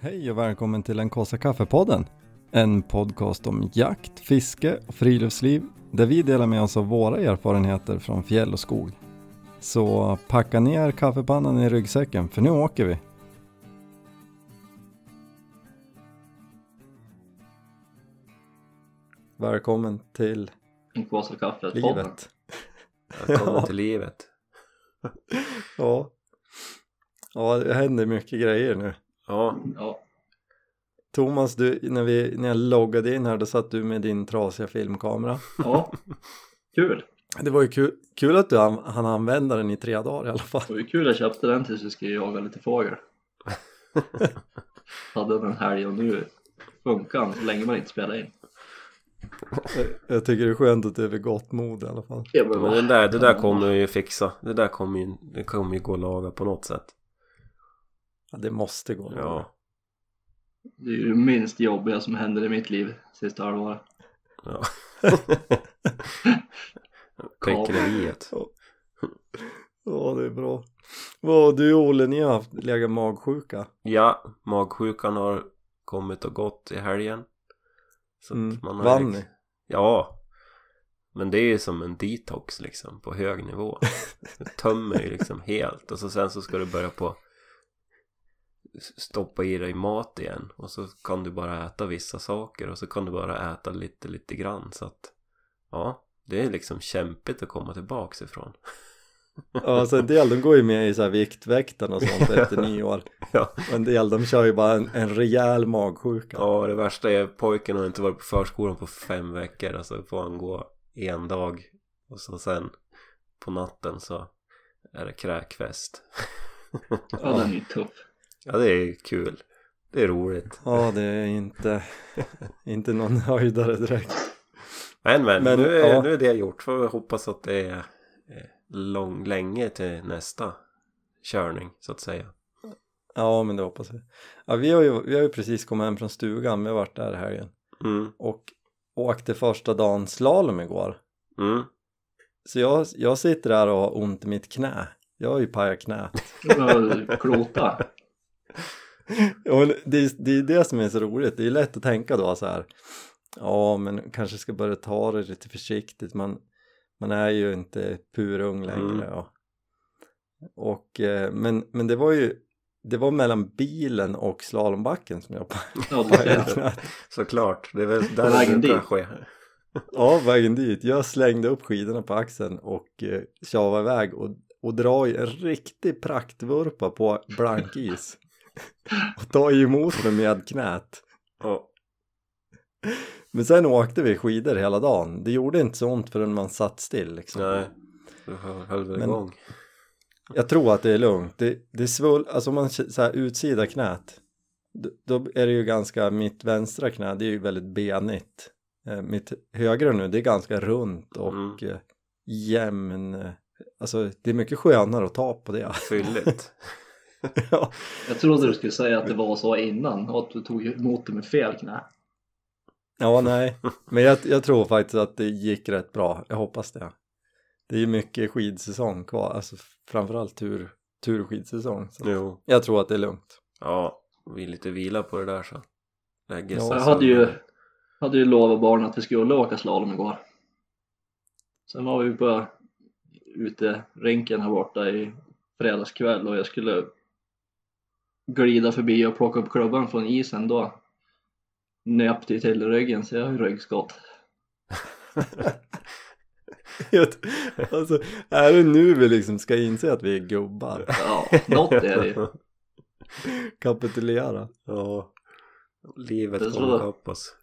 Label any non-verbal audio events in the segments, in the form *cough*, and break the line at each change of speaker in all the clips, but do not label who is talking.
Hej och välkommen till den kaffe kaffepodden. En podcast om jakt, fiske och friluftsliv där vi delar med oss av våra erfarenheter från fjäll och skog. Så packa ner kaffepannan i ryggsäcken för nu åker vi. Välkommen till
En kvasar kaffe, podden.
livet.
Välkommen
Ja.
till livet.
Ja. ja, det händer mycket grejer nu.
Ja,
Ja,
Thomas, du, när, vi, när jag loggade in här då satt du med din trasiga filmkamera.
ja. kul.
Det var ju kul, kul att du an, han använde den i tre dagar i alla
Det
fall.
var ju kul jag köpte den tills vi skulle jaga lite fågel. Hade den en helg och nu funkar den så länge man inte spelar in.
Jag tycker det är skönt att du är vid gott mod i alla fall.
Ja,
men den där, det där kommer vi ju fixa. Det där kommer ju, det kommer ju gå att laga på något sätt.
Ja, det måste gå.
*laughs* Ja.
Det är ju det minst jobbiga som händer i mitt liv sista halvåret.
ja. Peckneriet.
ja, det är bra. Vad du och Olle, ni har haft legat magsjuka.
Ja, magsjukan har kommit och gått i helgen. Så att
Mm.
man har
Vann
liksom-
ni?
Ja. Men det är ju som en detox liksom på hög
*laughs*
nivå. Det tömmer ju liksom helt och så sen så ska du börja på stoppa i dig mat igen och så kan du bara äta vissa saker och så kan du bara äta lite lite grann så att ja det är liksom kämpigt att komma tillbaks ifrån
Ja, alltså en del de går ju med i så här Viktväktarna och sånt
*laughs*
efter nyår.
Ja.
Och en del de kör ju bara en, en rejäl magsjuka.
ja det värsta är pojken har inte varit på förskolan på fem veckor alltså får han gå en dag och så sen på natten så är det kräkfest *laughs*
Ja, den är ju tuff.
ja det är kul det är roligt
Ja, det är inte, inte någon *laughs* höjdare direkt.
Men men,
Men,
nu, är,
ja.
nu är det gjort. Får vi hoppas att det är eh, lång, länge till nästa körning så att säga.
Ja, men det hoppas jag. Ja, vi, har ju, vi har ju precis kommit hem från stugan, vi har varit där i helgen.
Mm,
Och åkte första dagen slalom igår.
mm.
Så jag, jag sitter där och har ont i mitt knä. Jag har ju pajat knät.
Ja, Klota.
Och det, är- det är det som är så roligt. Det är lätt att tänka då så här. Ja, men kanske ska börja ta det lite försiktigt. Man, man är ju inte purung längre. Och, och, eh, men, men det var ju det var mellan bilen och slalombacken som jag
Ja, du
pajade *laughs*
ser.
knät.
Såklart, det är väl där
vägen
det brukar
dit.
ske.
Ja, vägen dit. Jag slängde upp skidorna på axeln och eh, tjavade iväg och, och drar ju en riktig praktvurpa på blank is. och tar ju emot mig med knät.
Ja,
Men sen åkte vi skidor hela dagen. Det gjorde inte så ont förrän man satt still liksom.
nej, du hö- höll väl
Men-
igång.
Jag tror att det är lugnt. Det, det svull, alltså om man k- så här utsida knät. d- Då är det ju ganska, mitt vänstra knä det är ju väldigt benigt. Eh, Mitt högra nu det är ganska runt och
Mm.
eh, jämn. eh, Alltså det är mycket skönare att ta på det. *laughs*
Fylligt. *laughs*
ja.
Jag trodde du skulle säga att det var så innan och att du tog emot det med fel knä.
ja, nej. Men jag, jag tror faktiskt att det gick rätt bra. Jag hoppas det. Det är ju mycket skidsäsong kvar. Alltså framförallt tur, turskidsäsong. Så.
jo,
Jag tror att det är lugnt.
ja, vi lite vila på det där så. Lägger
Ja,
Jag
sig sönder.
hade ju, hade ju lovat barnen att vi skulle åka slalom igår. Sen var vi på uteränken här borta i fredagskväll och jag skulle glida förbi och plocka upp klubban från isen då nöp det till ryggen så jag har ju ryggskott.
alltså, är det nu vi liksom ska inse att vi är gubbar? *laughs*
Ja, något är det ju.
Kapitulera.
*laughs* Ja, livet
Det
kommer
tror-
ikapp oss.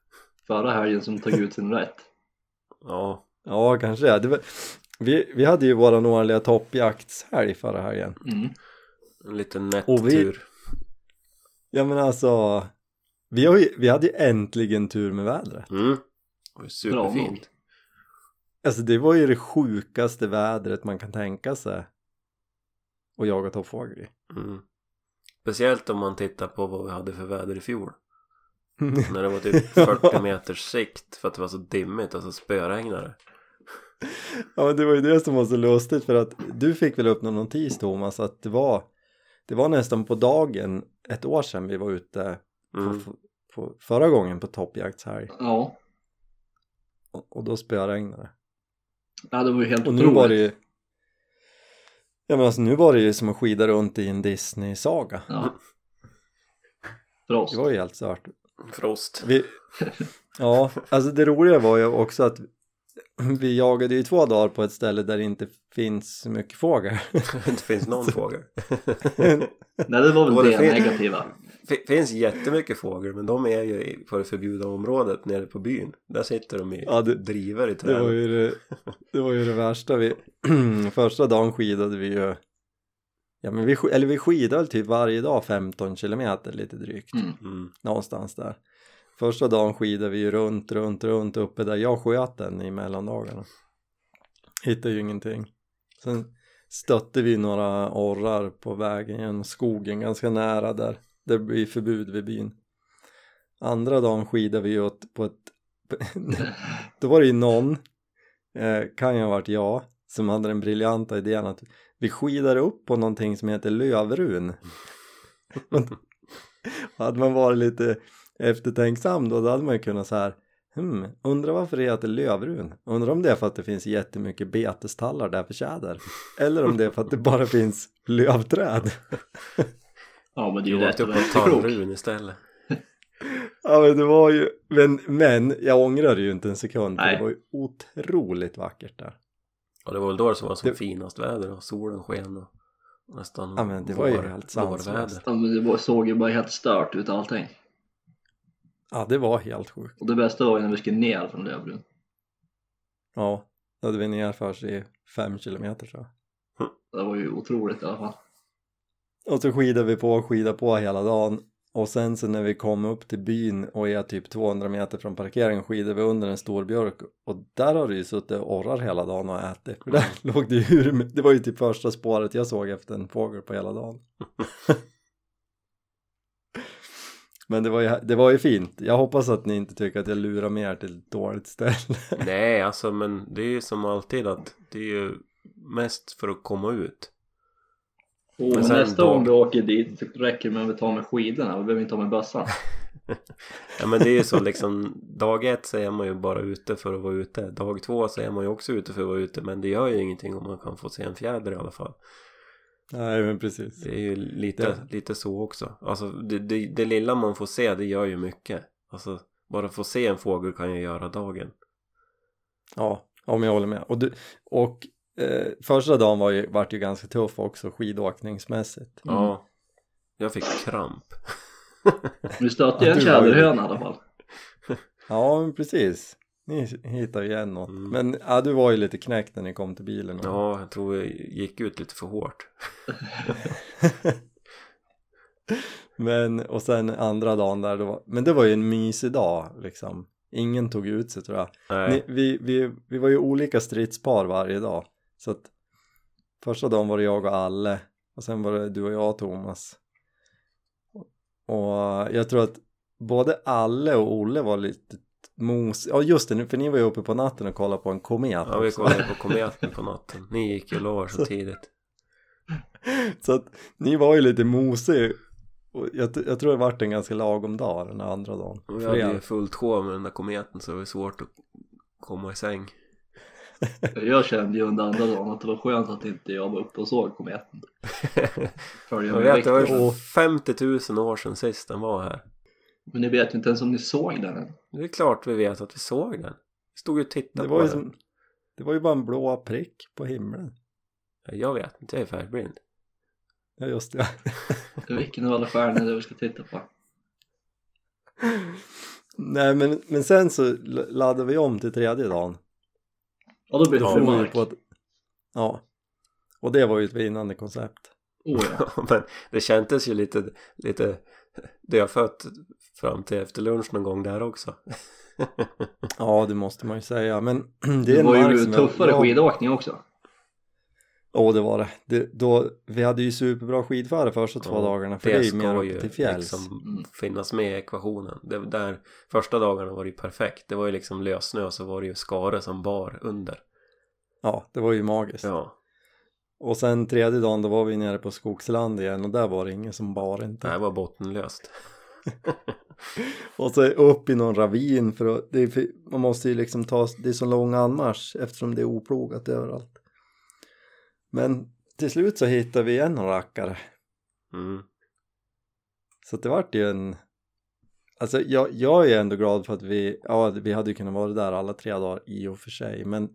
Förra helgen som tog ut sin rätt.
Ja,
Ja, kanske det. det var... vi, vi hade ju våran årliga toppjaktshelg förra helgen.
Mm.
en liten
Och vi-
nättur.
Ja, men alltså, vi, har ju, vi hade ju äntligen tur med vädret.
Mm. Det var
Bra nog.
Superfint.
Alltså det var ju det sjukaste vädret man kan tänka sig att jaga toppfågel i.
Mm. Speciellt om man tittar på vad vi hade för väder i fjol. När det
*laughs*
var typ 40 meters sikt för att det var så dimmigt, alltså spöregnare.
*laughs* Ja men det var ju det som var så lustigt för att du fick väl upp någon notis Thomas att det var det var nästan på dagen ett år sedan vi var ute
Mm.
på, på, förra gången på toppjaktshelg
Ja,
och, och då spöregnade det.
ja det var ju helt
Och nu var det ju
otroligt.
Ja men alltså nu var det ju som att skida runt i en Disney-saga.
Ja. För oss.
Det var ju helt stört.
Frost.
*laughs* Vi... Ja, alltså det roliga var ju också att vi jagade ju två dagar på ett ställe där det inte finns så mycket fågel.
*laughs*
*laughs*
det finns
*laughs*
någon fågel.
Nej, det var väl
Var det
det
fel?
negativa.
Det finns jättemycket fågel men de är ju i- på det förbjudna området nere på byn. Där sitter de i
Ja, det-
driver i
Det var
träden.
ju det, det, var ju det värsta. Vi, *clears throat* första dagen skidade vi ju, ja men vi, sk- eller vi skidade väl typ varje dag 15 kilometer lite drygt,
Mm.
Mm.
någonstans där. Första dagen skidade vi ju runt, runt, runt uppe där jag sköt den i mellandagarna. Hittade ju ingenting. Sen stötte vi några orrar på vägen genom skogen ganska nära där. Det blir förbud vid byn. Andra dagen skidade vi ju åt, på ett *laughs* då var det ju någon, eh, kan ju ha varit jag, som hade den briljanta idén att vi skidar upp på någonting som heter Lövrun. Och hade man varit lite eftertänksam då, då hade man ju kunnat så här, hmm, undrar varför det heter Lövrun? Undrar om det är för att det finns jättemycket betestallar där för tjäder? Eller om det är för att det bara finns lövträd?
Ja, men det är ju
Du
rätt
åkte
att
upp
vara
på
efterklok.
tallrun istället.
Ja men det var ju, men, men jag ångrar ju inte en sekund för
Nej.
det var ju otroligt vackert där.
Och det var väl då det som var som
Det-
finast väder och solen sken och nästan
Ja, men det var ju helt sanslöst.
vårväder.
Ja, men det var- såg ju bara helt stört ut allting.
Ja det var helt sjukt.
Och det bästa var ju när vi skulle ner från Lövbrun.
Ja, då hade vi nerförs i fem kilometer tror jag.
Det var ju otroligt i alla fall.
Och så skidade vi på och skidade på hela dagen. Och sen så när vi kom upp till byn och är typ 200 meter från parkeringen skidade vi under en stor björk. Och där har det ju suttit orrar hela dagen och ätit. För där låg det ju hur mycket- Det var ju typ första spåret jag såg efter en fågel på hela dagen. Men det var, ju, det var ju fint. Jag hoppas att ni inte tycker att jag lurar med er till ett dåligt ställe. *laughs*
Nej, alltså men det är ju som alltid att det är ju mest för att komma ut.
Och
Men sen
nästa
då-
gång vi åker dit så räcker det med att vi tar med skidorna, vi behöver inte ta med bössan.
Ja men det är ju så liksom *laughs* dag ett så är man ju bara ute för att vara ute. Dag två så är man ju också ute för att vara ute men det gör ju ingenting om man kan få se en fjäder i alla fall.
Nej men precis.
Det är ju lite,
Det-
lite så också. Alltså det, det, det lilla man får se det gör ju mycket. Alltså bara få se en fågel kan ju göra dagen.
Mm. Ja, om jag håller med. Och, du, och eh, första dagen var ju, vart ju ganska tuff också skidåkningsmässigt.
Mm.
Ja. Jag fick kramp.
Vi stötte ju
Ja,
en
du var ju-
tjäderhöna i alla fall.
Ja, men precis. Ni hittar ju igen något.
Mm.
Men ja, du var ju lite knäckt när ni kom till bilen. Och,
Ja, jag tror jag gick ut lite för hårt.
Men, och sen andra dagen där, då var, men det var ju en mysig dag liksom. Ingen tog ut sig tror jag.
Nej.
Ni, vi, vi, vi var ju olika stridspar varje dag. Så att första dagen var det jag och Alle och sen var det du och jag och Thomas. Och jag tror att både Alle och Olle var lite mos... Ja just det, för ni var ju uppe på natten och kollade på en komet.
Ja, vi kollade på kometen på natten. Ni gick ju och la er så tidigt.
Så att ni var ju lite mosig. Och jag, t- jag tror det vart en ganska lagom dag den andra dagen.
Och vi hade ju
Fredag.
fullt sjå med den där kometen så det var svårt att komma i säng.
Jag kände ju under andra dagen att det var skönt att inte jag var uppe och såg
*laughs*
kometen. Följa
Jag
med
vet, det var
riktigt.
ju 50 000 år sedan sist den var här.
Men ni vet ju inte ens om ni såg den än.
Det är klart vi vet att vi såg den. Vi stod ju och tittade
Det
på
var, ju
den.
som, det var ju bara en blå prick på himlen.
Ja, Jag vet inte, jag är färgblind.
Ja just det.
Vilken av alla stjärnor är det vi ska titta på?
Nej men, men sen så l- laddade vi om till tredje dagen.
Ja, då blir det
Då
för
for vi
mark.
på ett... Ja. Och det var ju ett vinnande koncept.
Oh, ja.
*laughs* Men det kändes ju lite, lite dödfött fram till efter lunch någon gång där också.
Ja, det måste man ju säga. Men *clears throat* det är
Det
en
var
mark
ju
som
tuffare
jag...
skidåkning också.
Ja, det var det. det då, vi hade ju superbra skidfärd första två
Ja,
dagarna. För det är ju mer
ska
upp till fjälls.
liksom
Mm.
finnas med i ekvationen. Det där första dagarna var det ju perfekt. Det var ju liksom lössnö så var det ju skare som bar under.
Ja, det var ju magiskt.
Ja,
Och sen tredje dagen då var vi nere på Skogsland igen och där var det ingen som bar
det
inte.
här var bottenlöst.
Och så upp i någon ravin för, att, det är för man måste ju liksom ta, det är så lång anmarsch eftersom det är oplogat överallt. Men till slut så hittade vi en rackare.
Mm.
Så att det vart ju en... Alltså jag, jag är ändå glad för att vi, ja vi hade ju kunnat vara där alla tre dagar i och för sig men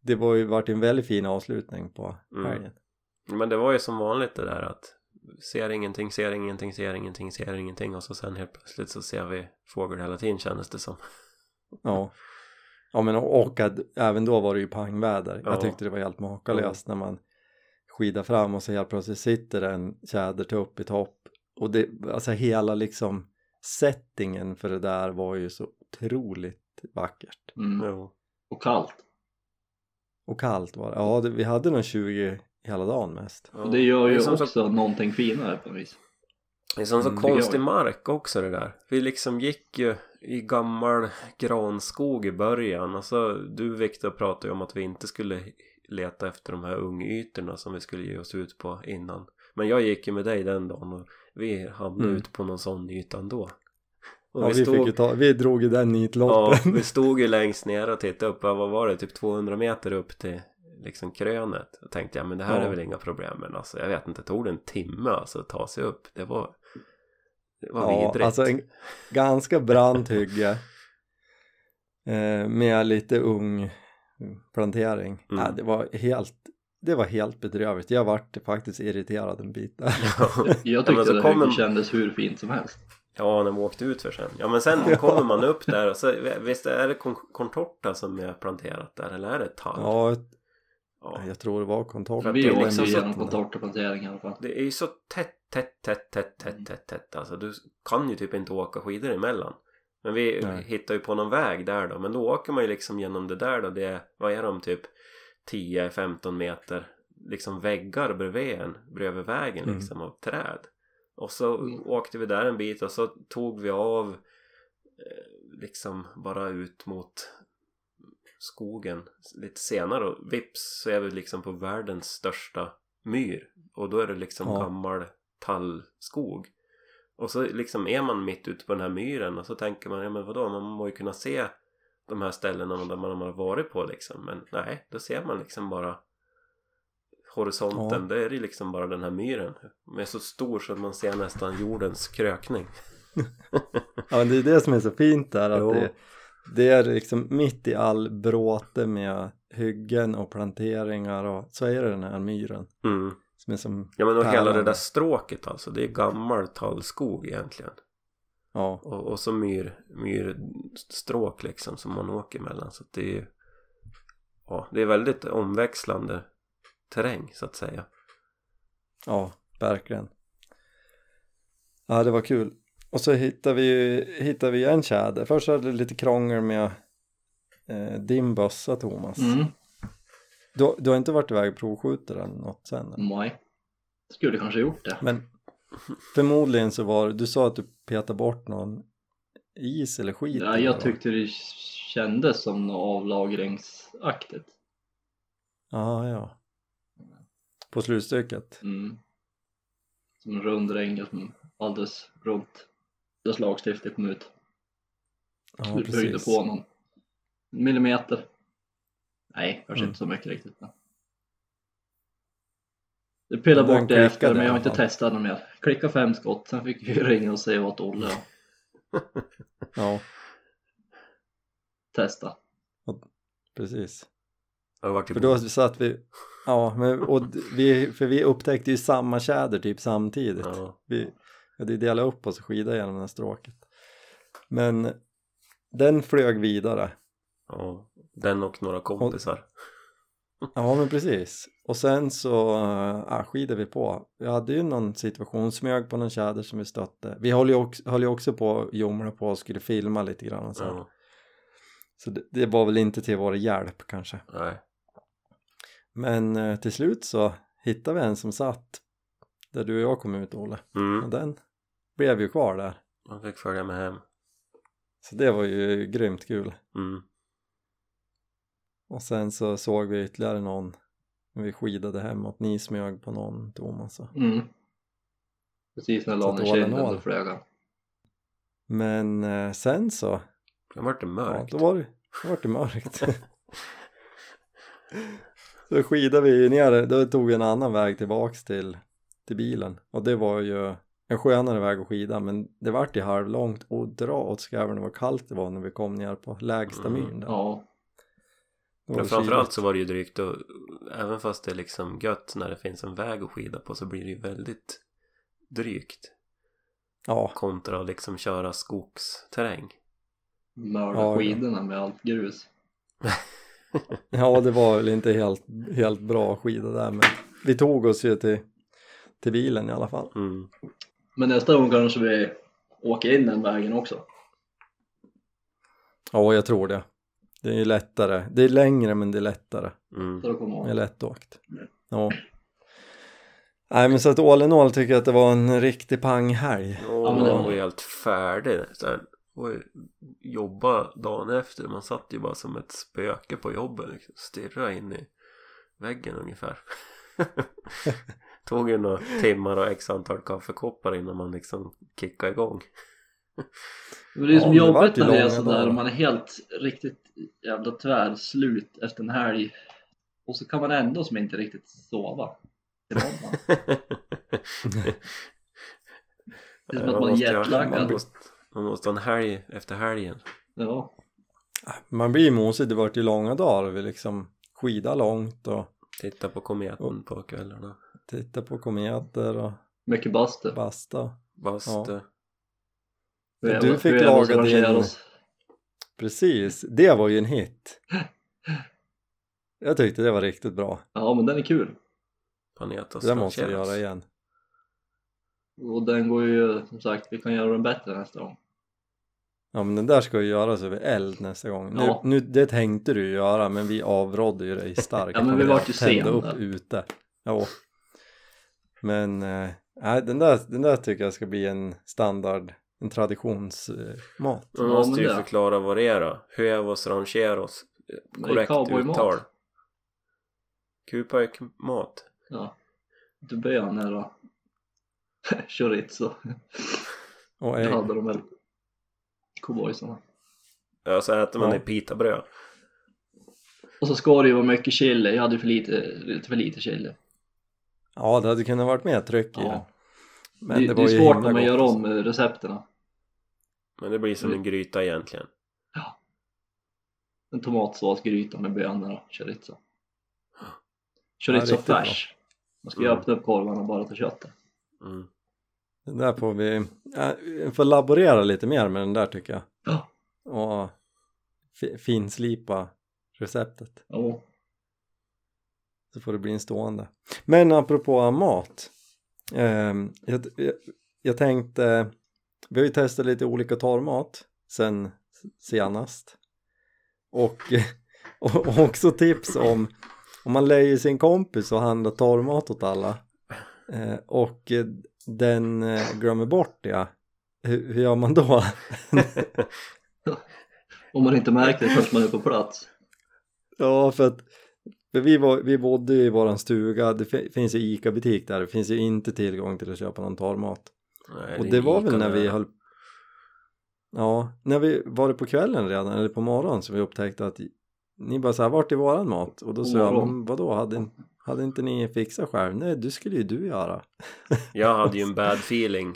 det var ju vart en väldigt fin avslutning på
Mm.
helgen.
Men det var ju som vanligt det där att ser ingenting, ser ingenting, ser ingenting, ser ingenting och så sen helt plötsligt så ser vi fågel hela tiden kändes det som.
Ja. Ja men och och att även då var det ju pangväder.
Ja.
Jag tyckte det var helt makalöst när man skidar fram och så helt plötsligt sitter en tjädertupp i topp. Och det, alltså hela liksom settingen för det där var ju så otroligt vackert.
Mm.
Jo.
Och kallt.
Och kallt var det. Ja, det, vi hade nog 20 hela dagen mest.
Ja.
Och det gör
Det
ju
är som
också
så,
någonting finare på något vis.
det är som så
Mm,
konstig
det
mark också det där. Vi liksom gick ju i gammal granskog i början och så du Viktor pratade ju om att vi inte skulle leta efter de här ungytorna som vi skulle ge oss ut på innan. Men jag gick ju med dig den dagen och vi hamnade
Mm.
ut på någon sån yta ändå. Och
Ja, vi, fick ju ta, vi drog ju den
Ja,
nitlotten.
vi stod ju längst ner och tittade upp. Ja, Vad var det? Typ 200 meter upp till liksom krönet. Då tänkte jag, men det här
Ja.
är väl inga problem. Men alltså, jag vet inte, det tog det en timme alltså att ta sig upp. Det var, det var
Ja,
vidrigt.
alltså en ganska brant hygge eh, med lite ung plantering.
Mm.
Ja, det var helt det var helt bedrövligt. Jag vart faktiskt irriterad en bit där.
*laughs* Ja.
Jag
men
tyckte
så
det
kommer-
kommer... kändes hur fint som helst.
ja, när vi åkte ut för sen. Ja, men sen kommer man upp där och så, visst är det kon- contorta som är planterat där? Eller är det tall?
Ja,
Ja.
jag tror det var kontorp.
Men
Vi
det är
åkte
liksom
ju
så
igenom
att-
kontortaplantering i alla fall.
Det är ju så tätt, tätt, tätt, tätt,
Mm.
tätt, tätt, tätt. Alltså du kan ju typ inte åka skidor emellan. Men vi
Nej.
hittar ju på någon väg där då. Men då åker man ju liksom genom det där då. Det är, vad är de typ 10-15 meter liksom väggar bredvid en, bredvid vägen
Mm.
liksom av träd. Och så
Mm.
åkte vi där en bit och så tog vi av eh, liksom bara ut mot skogen lite senare och vips så är vi liksom på världens största myr och då är det liksom
Ja.
gammal tallskog och så liksom är man mitt ute på den här myren och så tänker man ja men vadå man må ju kunna se de här ställena där man har varit på liksom men nej då ser man liksom bara horisonten
Ja.
då är det liksom bara den här myren men så stor så att man ser nästan jordens krökning
Ja, men det är det som är så fint där
Jo.
att det, det är liksom mitt i all bråte med hyggen och planteringar och så är det den här myren
mm.
som är som,
ja men och hela
Pärlan.
det där stråket alltså det är gammal tallskog egentligen
ja,
Och, och så myr, myrstråk liksom som man åker mellan. Så att det är ju, ja, det är väldigt omväxlande terräng så att säga.
Ja, verkligen. Ja, det var kul. Och så hittade vi, ju- hittade vi en tjäder. Först hade det lite krångel med eh, din bössa, Thomas.
Mm.
Du, du har inte varit iväg och provskjutit eller något sen? eller?
Nej. Skulle kanske gjort det.
Men förmodligen så var det, du sa att du petade bort någon is eller skit?
Ja,
eller
jag
vad?
tyckte det kändes som något avlagringsaktigt.
Ja, ja. På slutstycket?
Mm. Som en rund regel som alldeles runt dess lagstiftning kom ut.
Ja,
du böjde
precis.
på någon millimeter. Nej, kanske
Mm.
inte så mycket riktigt. Men... Det pillade
Den
bort det efter
klickade
men jag
i
har
alla
inte
fall.
testat något mer. Klicka fem skott, sen fick vi ringa och säga åt Olle att
Ja,
testa.
precis.
Jag har varit i
För då satt vi, ja, men, och d- vi, för vi upptäckte ju samma tjäder typ samtidigt.
ja.
Vi hade delat upp oss och skida genom det här stråket. Men den flög vidare.
ja, den och några kompisar.
Ja, men precis. Och sen så äh, skidade vi på. Vi hade ju någon situation, smög på någon tjäder som vi stötte. Vi höll ju också, höll ju också på och jomla på och skulle filma lite grann. Och så här.
Ja,
så det, det var väl inte till vår hjälp kanske.
nej.
Men eh, till slut så hittade vi en som satt där du och jag kom ut, Olle. Och
Mm.
den blev ju kvar där.
Man fick följa med hem.
Så det var ju grymt kul.
Mm.
Och sen så såg vi ytterligare någon när vi skidade hemåt. Ni smög på någon, Thomas. och-
Mm. Precis när jag
Så
la
att
ner
ålen
kinden
ål.
så flög han.
Men eh, sen så,
Då vart det
ja,
mörkt.
då var det, då var det *laughs* mörkt. så skidade vi ner, då tog vi en annan väg tillbaks till, till bilen. Och det var ju en skönare väg att skida men det vart ju halvlångt och dra åt skräven vad kallt det var när vi kom ner på lägsta
Mm.
myren där.
Ja,
Det var
Men
ju
framförallt så var det ju drygt och även fast det är liksom gött när det finns en väg att skida på så blir det ju väldigt drygt
kyligt. Ja,
kontra att liksom köra skogsterräng.
mörda
Ja, ja.
skidorna med allt grus.
Ja, det var väl inte helt, helt bra skida där, men vi tog oss ju till, till bilen i alla fall.
Mm.
Men nästa gång kanske vi åker in den vägen också.
Ja, jag tror det. Det är ju lättare. Det är längre, men det är lättare.
Mm.
För att komma
Det
ihåg.
är lättåkt. Ja. Nej, men så att all in all tycker jag att det var en riktig panghelg.
Och
men det-
man var ju helt färdig sen. Och jobba dagen efter. Man satt ju bara som ett spöke på jobbet. Liksom. Stirrade in i väggen ungefär. *laughs* Tog ju några timmar och x antal kaffekoppar innan man liksom kickade igång.
Men det är ju som
Ja, det vart
jobbigt
ju
när det är
långa
sådär
dagar.
och man är helt riktigt jävla tvärslut efter en helg. Och så kan man ändå som inte riktigt sova. till morgonen.
*laughs*
*laughs*
Det är som att man är
måste göra- man,
jetlaggad.
måste, man måste ha en helg efter helgen.
Ja,
Man blir mosig, det vart ju långa dagar. Vi liksom skida långt och
Titta på kometen på kvällarna.
titta på kometer och
mycket bastu.
basta.
Bastu.
Vi är-
Du fick
vi är
laga
måste arrangera
din-
oss.
Precis, det var ju en hit. Jag tyckte det var riktigt bra.
Ja, men den är kul.
Panetos.
Det där måste vi
Cheros.
göra igen.
Och den går ju, som sagt, vi kan göra den bättre nästa gång.
Ja men den där ska ju göras över eld nästa gång. Nu,
Ja.
nu, det tänkte du ju göra men vi avrådde ju dig starkt.
*laughs* Ja, men
från
vi
det.
vart ju
Tände
sen
upp
där.
ute. Ja. Men eh, nej, den, där, den där tycker jag ska bli en standard, en traditionsmat.
Man
Ja,
måste
men
ju
det.
förklara vad det är då. Huevos rancheros.
Det är
Korrekt
cowboymat.
uttal. Kupajkmat.
Ja. Du börjar när *laughs* då. Chorizo.
Och
Det
ägg.
hade de väl. Cowboysarna.
Ja, så Alltså, äter man
Ja.
i pitabröd.
Och så ska det ju vara mycket chili. Jag hade för lite, lite för lite chili.
Ja det hade kunnat varit mer tryck i
Ja.
den.
det, det, är
ju
svårt
himla
när man
gott.
gör om eh, recepterna.
Men det blir
Mm.
som en gryta egentligen.
En tomatsåsgryta med bönor och chorizo.
Ja,
Chorizo
riktigt bra.
färs. Man ska ju
Mm.
öppna upp korvarna och bara ta köttet.
Mm.
Det där får vi, ja, vi får laborera lite mer med den där tycker jag.
Ja.
Och fi- finslipa receptet.
Ja,
så får det bli en stående men apropå mat ehm, jag, jag, jag tänkte vi har ju testat lite olika torrmat sen senast och, *laughs* och också tips om om man lejer sin kompis och handlar torrmat åt alla eh, och eh, den eh, glömmer bort det hur, hur gör man då? *laughs*
Om man inte märker det först man är på plats.
Ja, för att för vi, var, vi bodde ju i våran stuga, det fi- finns ju ICA-butik där, det finns ju inte tillgång till att köpa någon torrmat.
Nej,
Och
är
det var
lika
väl när vi
där.
höll... Ja, när vi var det på kvällen redan, eller på morgonen, som vi upptäckte att ni bara så här, vart är våran mat? Och då sa jag,
Morgon.
men vadå, hade, hade inte ni fixat själv? Nej, det skulle ju du göra.
Jag hade ju en bad feeling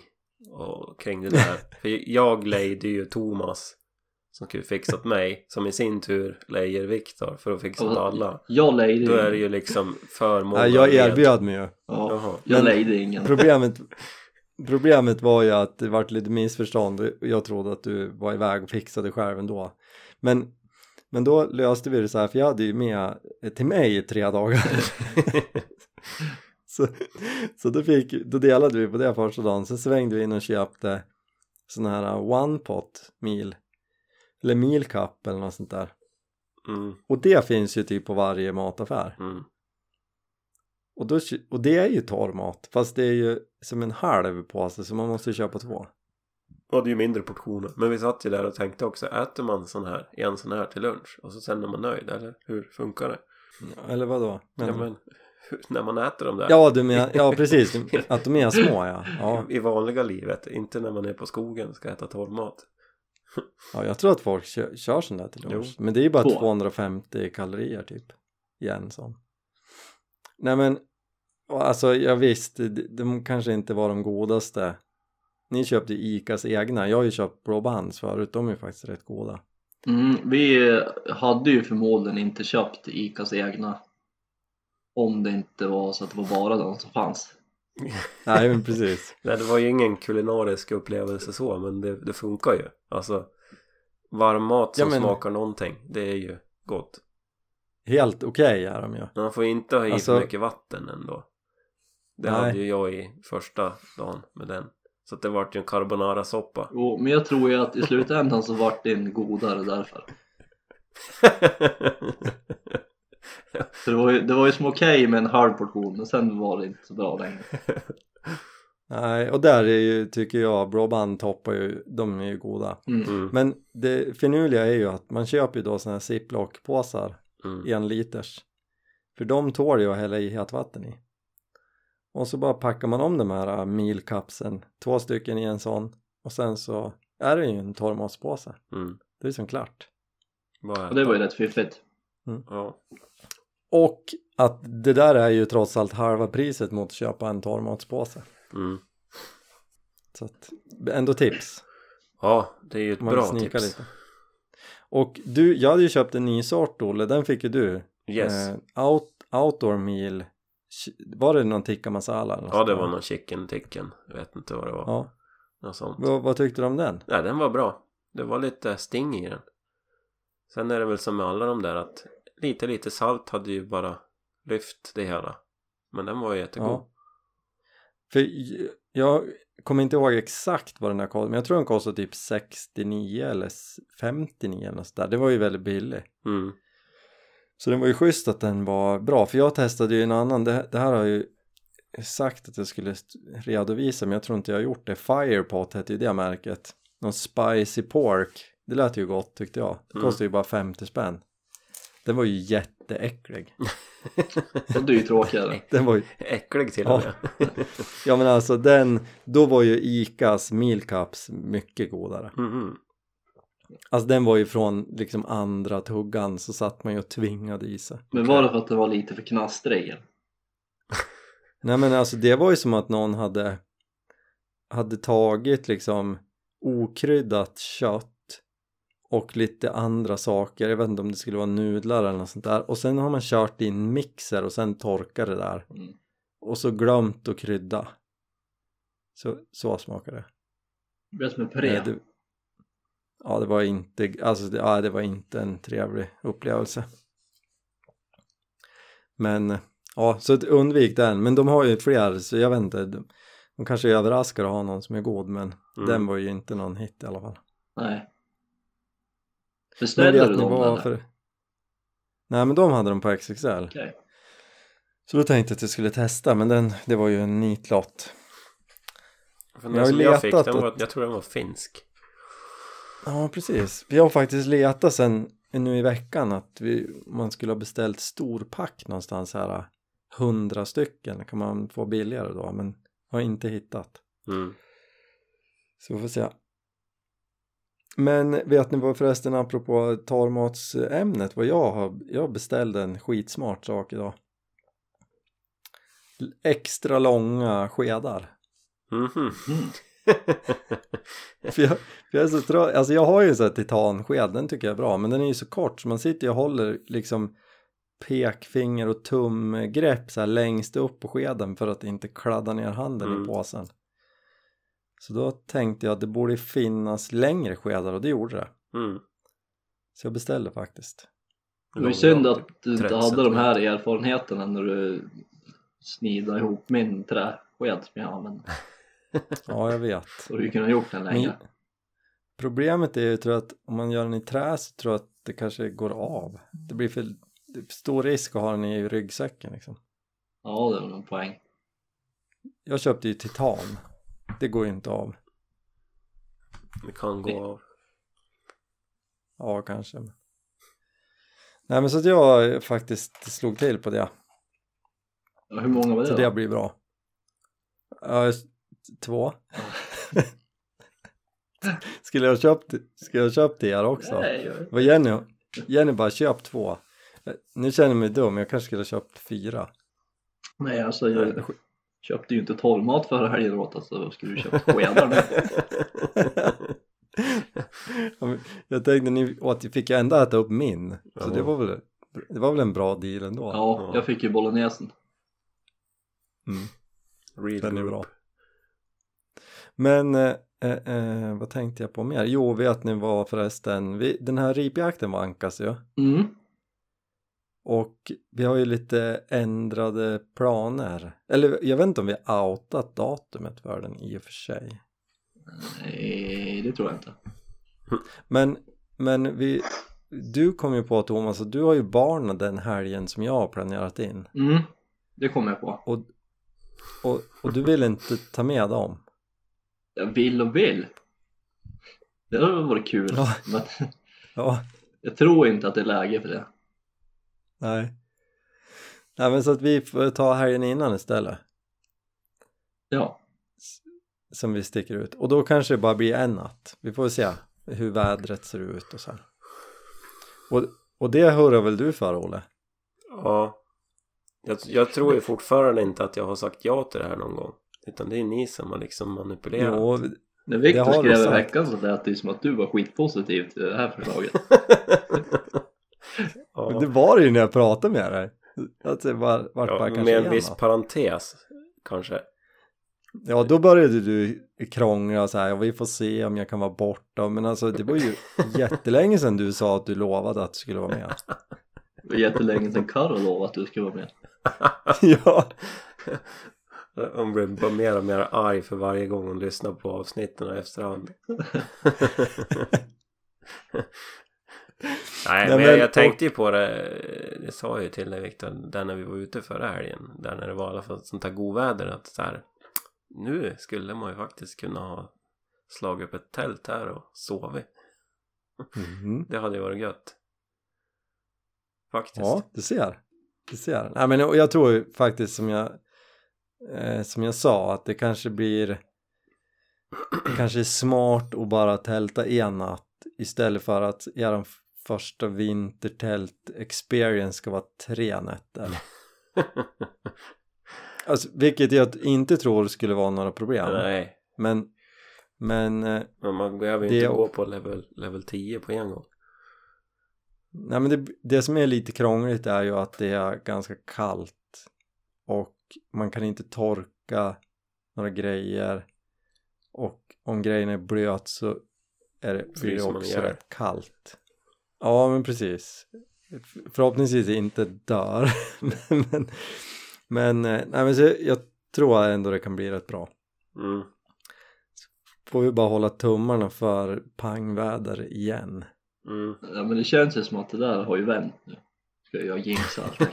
och, kring det där. För jag lejde ju Thomas som skulle fixat mig. Som i sin tur lejer Viktor för att fixa åt alla.
Jag lejde
Då är det
ingen.
ju liksom för
*laughs*
många
Nej, jag
led.
erbjöd mig ju.
Ja,
Jaha.
jag
Men-
lejde ingen.
Problemet, problemet var ju att det vart lite missförstånd. Jag trodde att du var iväg och fixade själv ändå. Men, men då löste vi det så här, för jag hade ju med till mig i tre dagar. så så då, fick, då delade vi på det första dagen. Sen svängde vi in och köpte sån här one pot meal. Eller meal cup eller något sånt där.
Mm,
Och det finns ju typ på varje mataffär.
mm.
Och, då, kö- och det är ju torrmat, fast det är ju som en halv påse så man måste ju köpa två.
Och det är ju mindre portioner. Men vi satt ju där och tänkte också, äter man sån här, en sån här till lunch? Och så sen är man nöjd, eller hur funkar det?
Eller vadå? Men,
Ja men, hur- när man äter dem där.
Ja, du menar, ja precis, att de är små ja. ja.
I vanliga livet, inte när man är på skogen och ska äta torvmat.
Ja, jag tror att folk kör, kör sån där till lunch. Men det är ju bara
Två.
250 kalorier typ. I en sån. Nej men, och alltså jag visst, de- de kanske inte var de godaste. Ni köpte ju Icas egna, jag har ju köpt Blåbands förut, de är ju faktiskt rätt goda.
Mm, vi hade ju förmodligen inte köpt ICAs egna om det inte var så att det var bara de som fanns.
Nej men precis.
Nej, det var ju ingen kulinarisk upplevelse så, men det, det funkar ju. Alltså, varm mat som
Ja, men-
smakar någonting, det är ju gott.
Helt okej är de ju.
Men man får inte ha i
Alltså-
för mycket vatten ändå. Det
Nej.
hade ju jag i första dagen med den. Så att det vart ju en carbonara-soppa. *laughs*
Jo, men jag tror ju att i slutändan så vart den godare därför. För det var ju, det var ju som okej med en halv portion, men sen var det inte så bra längre.
Nej, och där är ju, tycker jag, Blåband toppar ju, de är ju goda.
Mm.
mm,
Men det finurliga är ju att man köper ju då såna här ziplock-påsar
mm.
en liters för de tål ju att hälla i het vatten i och så bara packar man om de här äh, milkapsen två stycken i en sån och sen så är det ju en torrmatspåse
Mm.
det är som klart
Bara
Och det
äta.
var ju rätt fiffigt.
Ja.
och att det där är ju trots allt halva priset mot att köpa en torrmatspåse
Mm.
så att ändå tips
ja, det är ju ett
om man
bra
sneakar
tips.
och du, jag hade ju köpt en ny sort Olle, den fick ju du
Yes.
eh, out, outdoor meal var det någon tikka masala? eller något
ja, det
sånt
var
där?
någon chicken ticken. Jag vet inte vad det var.
ja.
Något sånt.
Vad, vad tyckte du om den?
Nej, den var bra. Det var lite sting i den. Sen är det väl som med alla de där att lite, lite salt hade ju bara lyft det hela. Men den var ju jättegod.
Ja. För j- jag kommer inte ihåg exakt vad den här kostade, men jag tror den kostade typ 69 eller s- 59 eller något sånt där. Det var ju väldigt billig.
Mm.
Så det var ju schysst att den var bra, för jag testade ju en annan, det, det här har jag ju sagt att jag skulle st- redovisa, men jag tror inte jag har gjort det. Firepot hette ju det märket. Någon spicy pork, det lät ju gott tyckte jag. Det
Mm.
kostade ju bara 50 spänn. Den var ju jätteäcklig.
Och det är ju tråkigare.
Den var ju
Äcklig till
Ja.
och med. *laughs*
Ja men alltså den, då var ju Icas meal cups mycket godare.
Mhm.
Alltså den var ju från liksom andra tuggan så satt man ju och tvingade i sig.
Men var det för att den var lite för knastrig?
Nej men alltså det var ju som att någon hade, hade tagit liksom okryddat kött och lite andra saker, jag vet inte om det skulle vara nudlar eller något sånt där och sen har man kört i en mixer och sen torkar det där
Mm.
och så glömt att krydda. Så, så smakar det.
Det blev som en
Nej,
puré.
det- ja, det var inte, alltså det, ja, det var inte en trevlig upplevelse. Men, ja, så att undvik den. Men de har ju fler, så jag vet inte. De, de kanske överraskar att ha någon som är god, men
Mm.
den var ju inte någon hit i alla fall.
Nej.
Men
Beställde
vet
du
ni
dem
vad
eller?
för... Nej, men de hade de på XXL.
Okej.
Så då tänkte jag att jag skulle testa, men den, det var ju en nitlott.
För
Jag
den
har
som jag
letat
fick, den var,
åt-
jag tror den var finsk.
Ja, precis. Vi har faktiskt letat sen nu i veckan att vi, man skulle ha beställt storpack någonstans här. 100 stycken kan man få billigare då, men har inte hittat.
Mm.
Så vi får se. Men vet ni vad förresten apropå torrmatsämnet vad jag har, jag beställde en skitsmart sak idag. L- Extra långa skedar.
Mhm.
Mm.
För jag, för jag är så trött, alltså jag har ju en sån här titansked, den tycker jag är bra, men den är ju så kort så man sitter ju och håller liksom pekfinger och tumgrepp så här längst upp på skeden för att inte kladda ner handen
Mm.
i påsen. Så då tänkte jag att det borde finnas längre skedar och det gjorde det.
*laughs* Mm.
Så jag beställde faktiskt.
Det var ju synd
Långt,
att du inte
30
hade de här
centimeter.
erfarenheterna när du snidade ihop min träsked som jag använde.
Ja, jag vet.
Så hade du kunnat gjort den längre.
Men problemet är ju tror jag att om man gör den i trä så tror jag att det kanske går av. Det blir för det är stor risk att ha den i ryggsäcken liksom.
Ja, det var nog en poäng.
Jag köpte ju titan. Det går ju inte av.
Det kan gå av.
Ja, kanske. men- Nej, men så att jag faktiskt slog till på det.
Ja, hur många var det
Så
då?
det blir bra. Ja, s- två. *laughs* skulle jag ha köpt, skulle jag ha köpt det här också?
Nej, jag-
Vad Jenny, Jenny bara köp två. Eh, Nu känner jag mig dum, jag kanske skulle ha köpt fyra.
Nej, alltså jag köpte ju inte torrmat förra helgen åt alltså, vad skulle du köpa skedar nu?
Ja, men jag tänkte ni åt, fick jag ändå äta upp min. Så
Ja.
det var väl, det var väl en bra deal ändå.
Ja, jag fick ju bolognesen.
Mm. *laughs*
Real
Den är
group.
bra. Men eh, eh, eh, vad tänkte jag på mer? Jo, vet ni vad förresten? Vi, den här ripjakten vankas ju.
Mm.
Och vi har ju lite ändrade planer. Eller jag vet inte om vi har outat datumet för den i och för sig.
Nej, det tror jag inte.
Men, men vi, du kom ju på Thomas att du har ju barnen den helgen som jag har planerat in.
Mm. Det kom jag på.
Och, och du vill inte ta med dem. *laughs*
Jag vill och vill. Det hade väl varit kul.
Ja.
Men *laughs*
Ja,
jag tror inte att det är läge för det.
nej. Nej men så att vi får ta helgen innan istället.
Ja,
som vi sticker ut och då kanske det bara blir en natt vi får väl se hur vädret ser ut och så här. Och, och det hörde väl du för Olle?
Ja. Jag, jag tror ju fortfarande inte att jag har sagt ja till det här någon gång. Utan det är ni som har liksom manipulerat.
Jo,
när
Det
Viktor
har du
skrev i
sagt.
veckan så lät det ju som att du var skitpositiv till det här
*laughs*
förslaget.
men det
*laughs* ja.
var det ju när jag pratade med dig. Att det var, vart bara
ja,
kanske
med
en
en viss
natt.
parentes kanske.
Ja, då började du krångla och så här, ja, vi får se om jag kan vara borta. Men alltså det var ju
*laughs*
jättelänge sedan du sa att du lovade att du skulle vara med.
Det var jättelänge sedan Carro lovade att du skulle vara med.
ja,
Hon blir bara mer och mer arg för varje gång hon lyssnar på avsnitten i efterhand.
*laughs*
Nej,
Nej,
men
men-
jag, jag tänkte ju på det. Det sa jag ju till dig Viktor, där när vi var ute förra helgen. Där när det var i alla fall sånt här godväder. Att så här, nu skulle man ju faktiskt kunna ha slagit upp ett tält här och sovit.
Mhm.
Det hade ju varit gött. Faktiskt. *laughs*
ja du ser. Du ser. Nej, men jag tror ju faktiskt som jag, eh, som jag sa att det kanske blir det kanske är smart att bara tälta en natt istället för att er första vintertält experience ska vara tre nätter. Alltså, vilket jag inte tror skulle vara några problem.
Nej,
Men, men, eh,
men man behöver
Det
ju inte
är
gå på level, level 10 på en gång.
nej, men det, det som är lite krångligt är ju att det är ganska kallt och man kan inte torka några grejer och om grejen är blöt så är det, blir det
Fryser man
också
ihjäl.
rätt kallt. Ja, men precis. F- Förhoppningsvis inte dör. *laughs* men, men, men, eh, nej, men så jag tror ändå det kan bli rätt bra.
Mm.
Får vi bara hålla tummarna för pangväder igen.
Mm.
Ja, men det känns ju som att det där har ju vänt nu. Ska jag jinxa allt?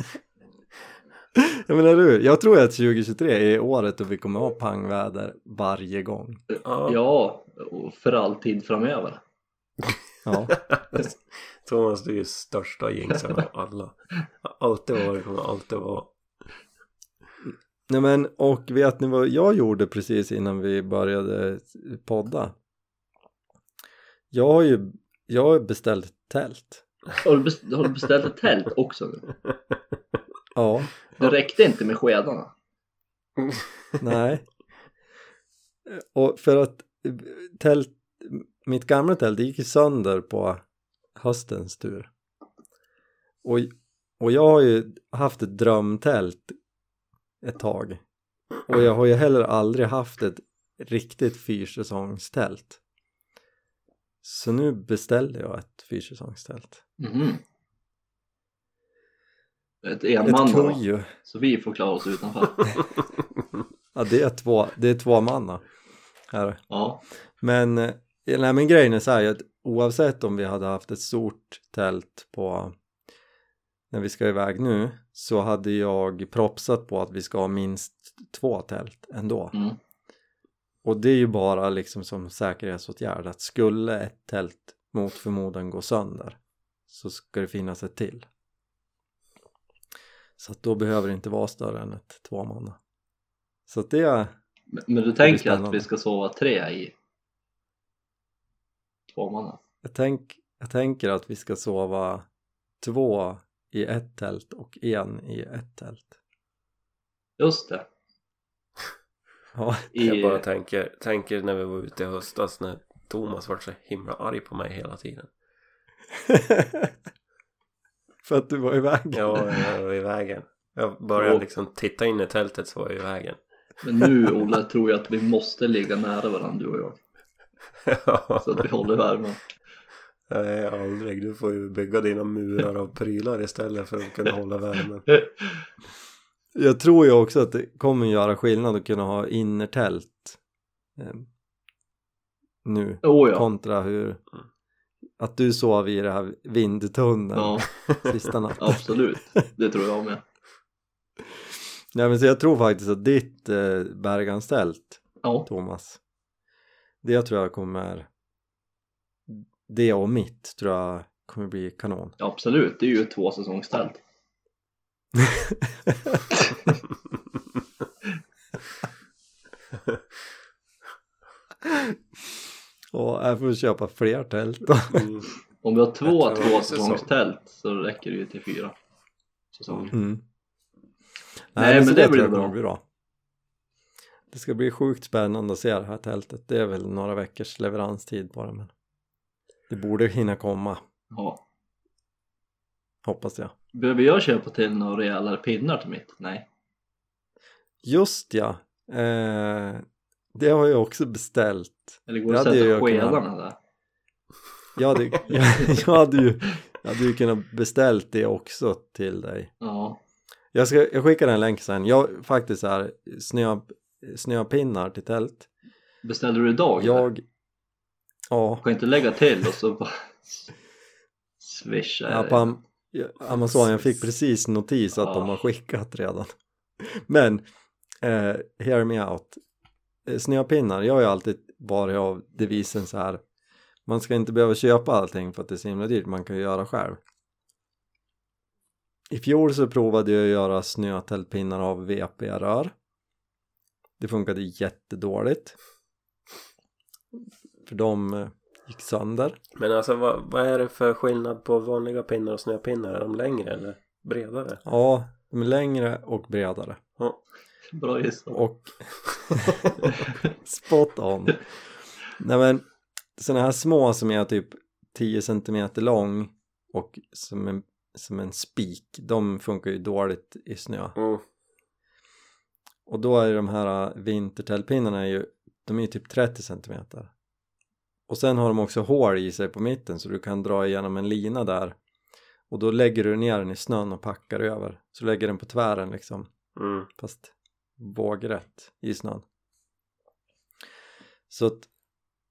*laughs* Jag menar du, jag tror att 2023 är året då vi kommer ha pangväder varje gång.
*laughs* Ja.
Ja, och för all tid framöver.
Ja,
Thomas, du är ju största jinxen av alla. Har Alltid varit, kommer alltid vara.
nej men och vet ni vad jag gjorde precis innan vi började podda? Jag har ju, jag har beställt ett tält.
Har du, best- har du beställt ett tält också nu?
Ja,
Det räckte inte med skedarna.
nej. Och för att eh, tält, mitt gamla tält det gick ju sönder på höstens tur. Och, och jag har ju haft ett drömtält ett tag. Och jag har ju heller aldrig haft ett riktigt fyrsäsongstält. Så nu beställde jag ett fyrsäsongstält.
Mhm.
Ett
Ett enman då,
kojo.
så vi får klara oss utanför.
Ja, det är två, det är två manna. Här.
Ja,
Men, eh, nej, men grejen är så här att oavsett om vi hade haft ett stort tält på när vi ska iväg nu så hade jag propsat på att vi ska ha minst två tält ändå.
mm.
Och det är ju bara liksom som säkerhetsåtgärd att skulle ett tält mot förmodan gå sönder så ska det finnas ett till. Så att då behöver det inte vara större än ett tvåmanna. Så att det,
Men, men du
blir
tänker att
spännande.
vi ska sova tre i tvåmanna?
jag, tänk, jag tänker att vi ska sova två i ett tält och en i ett tält.
Just det.
Ja, *laughs*
I,
Jag bara tänker, tänker när vi var ute i höstas när Thomas var så himla arg på mig hela tiden.
för att du var iväg.
Ja, *laughs* jag var i vägen. Jag började
Jo.
liksom titta in i tältet så var jag i vägen. *laughs*
men nu Olle tror jag att vi måste ligga nära varandra du och jag.
Ja,
Så att vi håller värmen.
nej aldrig. Du får ju bygga dina murar av prylar istället för att kunna hålla värmen.
Jag tror ju också att det kommer göra skillnad att kunna ha innertält eh, nu
Oh, ja. Mm.
kontra hur att du sov i det här vindtunneln
ja,
sista natten.
absolut. Det tror jag med.
Nej men så jag tror faktiskt att ditt eh, Berganstält
Ja,
Thomas det tror jag kommer det och mitt tror jag kommer bli kanon.
absolut. Det är ju två säsongstält.
Och jag får köpa fler tält då.
Mm.
Om vi har två
Jag tror det är
tvåsäsongstält så räcker det ju till fyra
*laughs*
säsonger.
Mm. Nej,
Nej,
men,
men
så
det
det,
blir
tror jag
bra.
kommer bli bra. Det ska bli sjukt spännande att se det här tältet. Det är väl några veckors leveranstid på det men det borde hinna komma
Ja.
hoppas jag.
Behöver jag köpa till några rejälare pinnar till mitt? Nej.
Just ja, eh, det har jag också beställt.
Eller går
Det
det att
hade
sätta
jag kunnat.
skedarna där?
Jag hade, *laughs* jag, jag hade ju jag hade ju kunnat beställt det också till dig.
Ja.
Jag, ska, jag skickar en länk sen. Jag faktiskt så här snö, snöpinnar till tält.
Beställde du idag? eller?
Jag, ja,
kan inte lägga till och så bara swisha
Ja,
er.
på Am- ja, Amazon, jag fick precis notis att
Ja.
de har skickat redan. Men, eh, hear me out. Eh, Snöpinnar, jag har ju alltid varit av devisen så här. Man ska inte behöva köpa allting för att det är så himla dyrt, man kan ju göra själv. I fjol så provade jag att göra snötältpinnar av VP-rör. Det funkade jättedåligt. För de eh, gick sönder.
Men alltså vad, vad är det för skillnad på vanliga pinnar och snöpinnar? Är de längre eller bredare?
Ja, de är längre och bredare.
Bra gissat.
och spot on. Nej men sådana här små som är typ 10 cm lång och som en, som en spik, de funkar ju dåligt i snö.
*laughs* Mm.
Och då är de här äh, vintertällpinnarna är ju, de är ju typ 30 cm. Och sen har de också hål i sig på mitten så du kan dra igenom en lina där och då lägger du ner den i snön och packar över. Så lägger den på tvären liksom
Mm.
fast vågrätt i snön. Så att,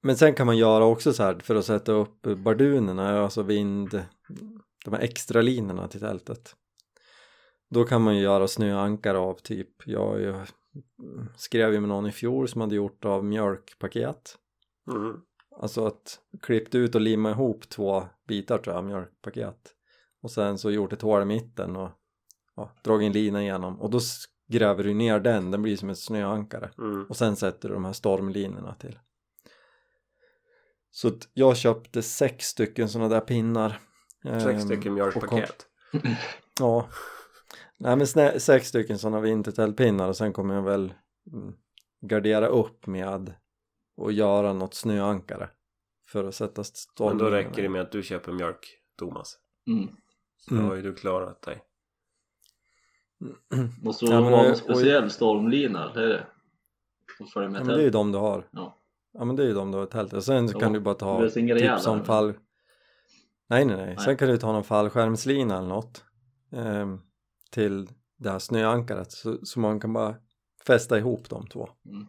men sen kan man göra också så här för att sätta upp bardunerna, alltså vind, de här extra linorna till tältet. Då kan man ju göra snöankare av typ, jag, jag skrev ju med någon i fjol som hade gjort av mjölkpaket.
Mm.
Alltså att klippt ut och limma ihop två bitar tror jag, mjölkpaket. Och sen så gjort ett hål i mitten och ja, dragit en lina igenom. Och då s- gräver du ner den, den blir som ett snöankare.
Mm.
Och sen sätter du de här stormlinorna till. Så att jag köpte sex stycken sådana där pinnar. Ehm,
Sex stycken
och kom-
mjölkpaket.
Ja. Nej men snä- sex stycken sådana vintertällpinnar och sen kommer jag väl mm, gardera upp med och göra något snöankare för att sätta storm.
Men då räcker det med att du köper mjölk, Thomas.
Mm.
Då
Mm.
har ju du klarat dig. *laughs*
Måste
Ja,
det
men
vara
det-
någon speciell stormlina? Eller är det? Som följer
Ja
med
men det är ju de du har.
Ja.
Ja, men det är ju de du har i tältet. Och sen så
Ja,
kan du bara ta
det är sin
typ
rejäl
som
där.
fall... Nej, nej, nej
Nej.
Sen kan du ta någon fallskärmslina eller något ehm, till det här snöankaret så, så man kan bara fästa ihop de två.
Mm.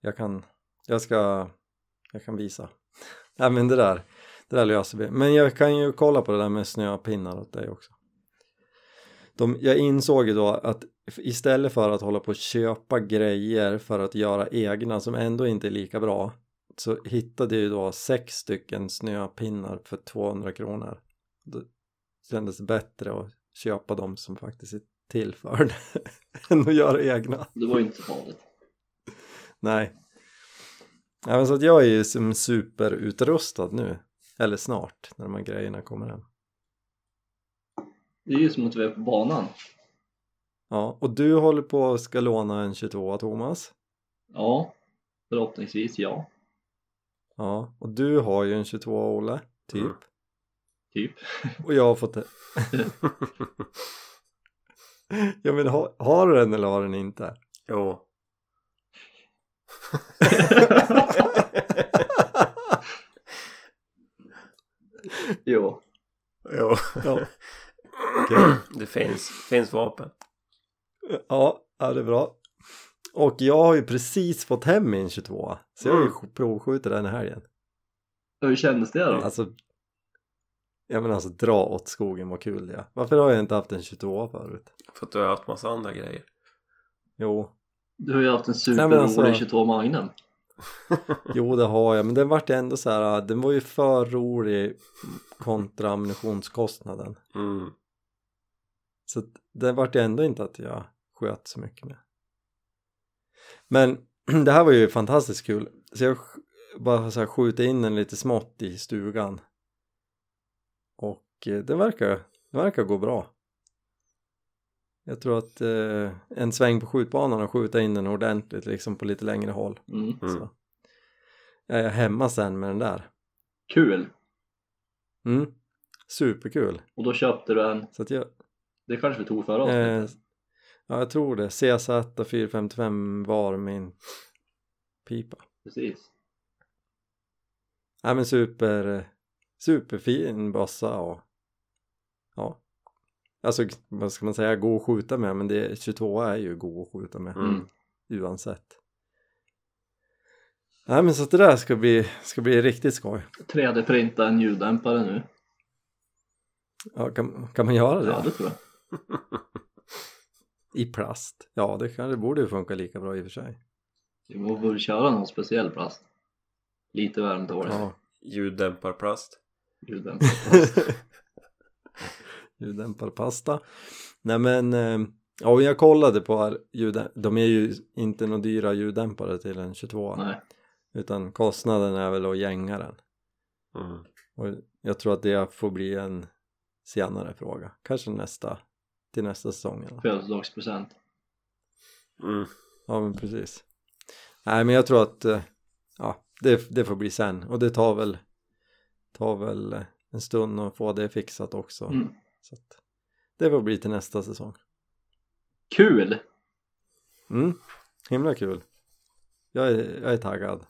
Jag kan... Jag ska... Jag kan visa. *laughs* Nej, men det där. Det där löser vi. Men jag kan ju kolla på det där med snöpinnar åt dig också. De, jag insåg ju då att f- istället för att hålla på och köpa grejer för att göra egna som ändå inte är lika bra så hittade jag ju då sex stycken snöpinnar för 200 kronor. Då kändes det bättre att köpa de som faktiskt är till för det *laughs* än att göra egna.
Det var ju inte så farligt.
Nej. Ja, men så att jag är ju som superutrustad nu. Eller snart, när de här grejerna kommer hem.
Det är ju som att vi är på banan.
Ja, och du håller på och ska låna en 22 Thomas.
Ja, förhoppningsvis ja.
Ja, och du har ju en 22 Olle, typ.
Mm.
Typ.
Och jag har fått det. *laughs* Ja men ha, har du den eller har du den inte?
jo.
Jo.
jo. *clears throat*
Ja,
Det finns, finns vapen.
ja, ja det är bra. Och jag har ju precis fått hem min 22 så jag har ju provskjutit den i helgen.
Hur kändes det då?
Alltså, ja men alltså dra åt skogen vad kul det är. Varför har jag inte haft en 22 förut?
För att du har haft massa andra grejer.
Jo,
Du har ju haft en
Nej, men alltså-
superrolig 22 Magnum.
jo det har jag men den vart ändå så här, den var ju för rolig kontra ammunitionskostnaden.
Mm.
Så att det vart ju ändå inte att jag sköt så mycket med. Men *clears throat* det här var ju fantastiskt kul. Så jag sk- bara så här skjuter in den lite smått i stugan. Och eh, det verkar, det verkar gå bra. Jag tror att eh, en sväng på skjutbanan och skjuta in den ordentligt liksom på lite längre håll.
Mm.
Mm.
Så. Jag är hemma sen med den där.
Kul!
Mm. Superkul.
Och då köpte du en,
Så att jag,
det kanske vi tog förra
Eh,
avsnittet.
ja, jag tror det. CZ 455 var min pipa.
Precis.
Nej men super, superfin bössa och ja. Alltså vad ska man säga, god att skjuta med men det, 22 är ju god att skjuta med
Mm.
oavsett. Nej men så att det där ska bli, ska bli riktigt skoj.
3D-printa en ljuddämpare nu.
Ja, kan, kan man göra det?
Ja, det tror jag.
I plast? Ja det, kan, det borde ju funka lika bra i och för sig.
Vi må väl köra någon speciell plast. Lite varmt och
Ja,
Ljuddämparplast.
*laughs*
ljuddämpare.
ljuddämparpasta. Nej men, eh, ja och jag kollade på här, ljud, de är ju inte några dyra ljuddämpare till en 22
Nej,
utan kostnaden är väl att gänga den.
Mm.
Och jag tror att det får bli en senare fråga, kanske nästa, till nästa säsong eller?
födelsedagspresent.
Mm.
Ja men precis. Nej men jag tror att, eh, ja det, det får bli sen och det tar väl, tar väl eh, en stund att få det fixat också.
Mm.
Så att, det får bli till nästa säsong.
Kul!
Mm, himla kul. Jag är, jag är taggad.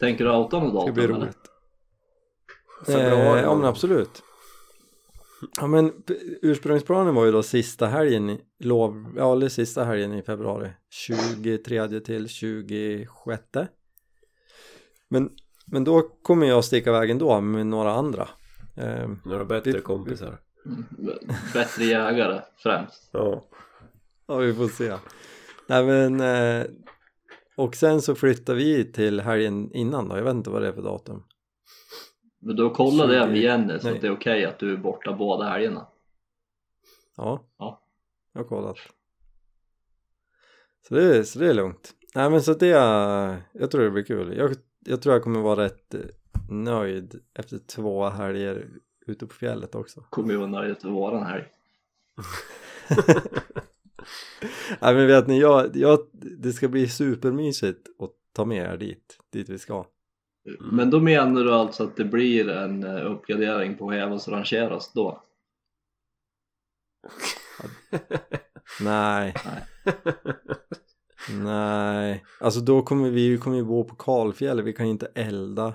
Tänker du outa
Det
något
ska
datum
bli
eller?
roligt.
Februari
Eh, ja men absolut. Ja men p- ursprungsplanen var ju då sista helgen i lov, ja eller sista helgen i februari. 23 till 26. Men, men då kommer jag sticka vägen då med några andra. Eh,
Några bättre
Vi-
kompisar.
Mm. B- Bättre jägare främst.
Ja.
Ja, vi får se. Nej, men, eh, och sen så flyttar vi till helgen innan då, jag vet inte vad det är för datum.
Men då kollade jag med
Tjugo-
Jenny så
nej.
att det är okej att du är borta båda helgerna.
Ja,
Ja.
jag har kollat. Så det, så det är lugnt. Nej, men så det, är- jag tror det blir kul. Jag, jag tror jag kommer vara rätt eh, nöjd efter två helger ute på fjället också.
Kommer ju vara nöjd efter våran helg.
Nej, men vet ni, jag, jag, det ska bli supermysigt att ta med er dit, dit vi ska. Mm.
Men då menar du alltså att det blir en eh, uppgradering på Hävas rangeras då?
Nej. Nej, alltså då kommer vi, vi kommer ju bo på kalfjäll, vi kan ju inte elda.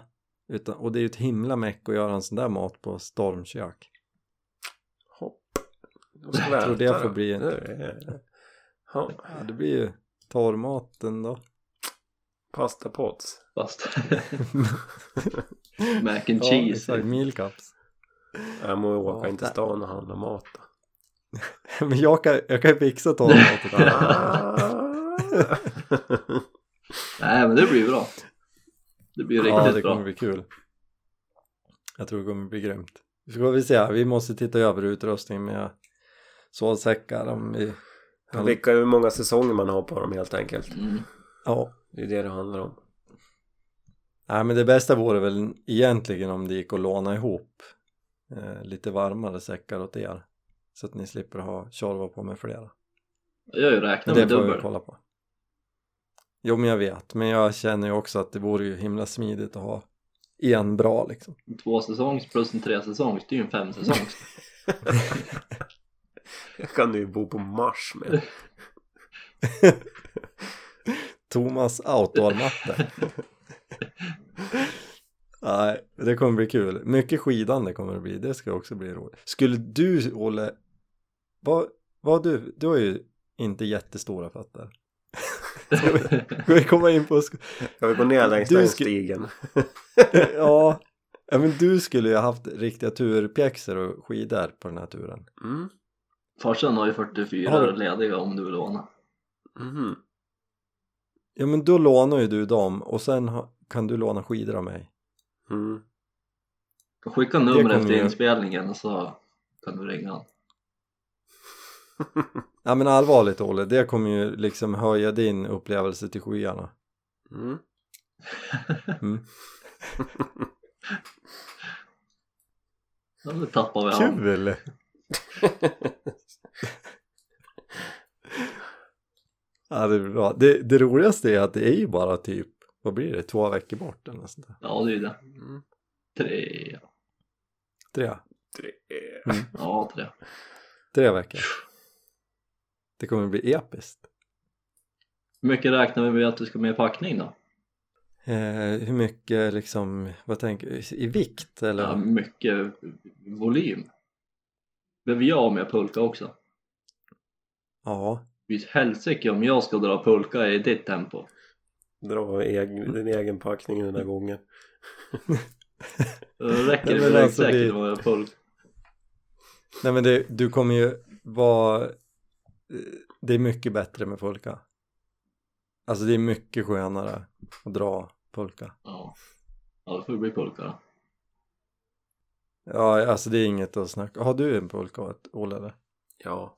Utan, och det är ju ett himla meck att göra en sån där mat på stormkök.
*laughs* Hopp. Då ska vi
Jag tror det
äta
får
då.
bli en-
Nu är det- Ja.
Ja, det blir ju torrmaten då.
Pasta pots.
Fast
*laughs*
mac and
ja,
cheese.
exakt, meal cups. *laughs*
Jag må
Ja,
åka in till
där.
stan och handla mat *laughs* då.
Men jag kan, jag kan ju fixa
*laughs*
torrmaten.
Nej men det blir bra. Det blir riktigt
ja, det
bra.
kommer bli kul. Jag tror det kommer bli grymt. Ska vi se, vi måste titta över utrustningen men jag, svalsäckar. om vi- Ja.
Vilka, hur många säsonger man har på dem helt enkelt.
Mm.
Ja,
Det är det det handlar om.
nej, men det bästa vore väl egentligen om det gick att låna ihop eh, lite varmare säckar åt er. Så att ni slipper ha Tjorva på med flera.
Jag har ju räknat
det
med
får vi
dubbel.
kolla på. Jo men jag vet, men jag känner ju också att det vore ju himla smidigt att ha en bra liksom.
En Två säsongs plus en tre säsongs, det är ju en
*laughs*
fem säsongs.
Jag kan ju bo på Mars med.
Thomas outdoor-matte. Nej, det kommer bli kul. Mycket skidande kommer det bli. Det ska också bli roligt. Skulle du, Olle, vad, vad du, du har ju inte jättestora fötter. Ska vi- Ska vi komma in på, sk- *laughs*
Jag vill gå ner längs
Du
den
ska-
stigen.
ja, ja, men du skulle ju ha haft riktiga turpjäxor och skidor på den här turen.
Mm.
Farsan har ju 44
Har du?
lediga om du vill låna.
Mhm.
Ja, men då lånar ju du dem och sen ha, kan du låna skidor av mig.
Mm.
Skicka numret
kommer
efter
jag-
inspelningen och så kan du ringa han.
Nej, men allvarligt Olle, det kommer ju liksom höja din upplevelse till skyarna.
Mm.
Mm.
Ja, nu tappar vi han.
Kul! *laughs* Ja, det blir bra. Det, det roligaste är att det är ju bara typ, vad blir det, två veckor bort eller något sånt där.
Ja, det är ju det.
Mm.
Tre,
Tre,
Det är-
ja tre.
tre veckor. Det kommer bli episkt.
Hur mycket räknar vi med att du ska med i packning då?
Eh, hur mycket liksom, vad tänker i vikt eller?
Ja, mycket volym. Behöver jag med pulka också?
ja.
Visst helsike om jag ska dra pulka i ditt tempo.
Dra egen, din egen packning den här gången.
Då räcker
Nej,
det
men
med ryggsäcken
alltså, det-
och en pulka.
Nej men det, du kommer ju vara... eh, Det är mycket bättre med pulka. Alltså det är mycket skönare att dra pulka.
Ja. ja, då får det bli pulka då.
Ja, alltså det är inget att snacka Har du en pulka, ett- Olle? eller?
Ja,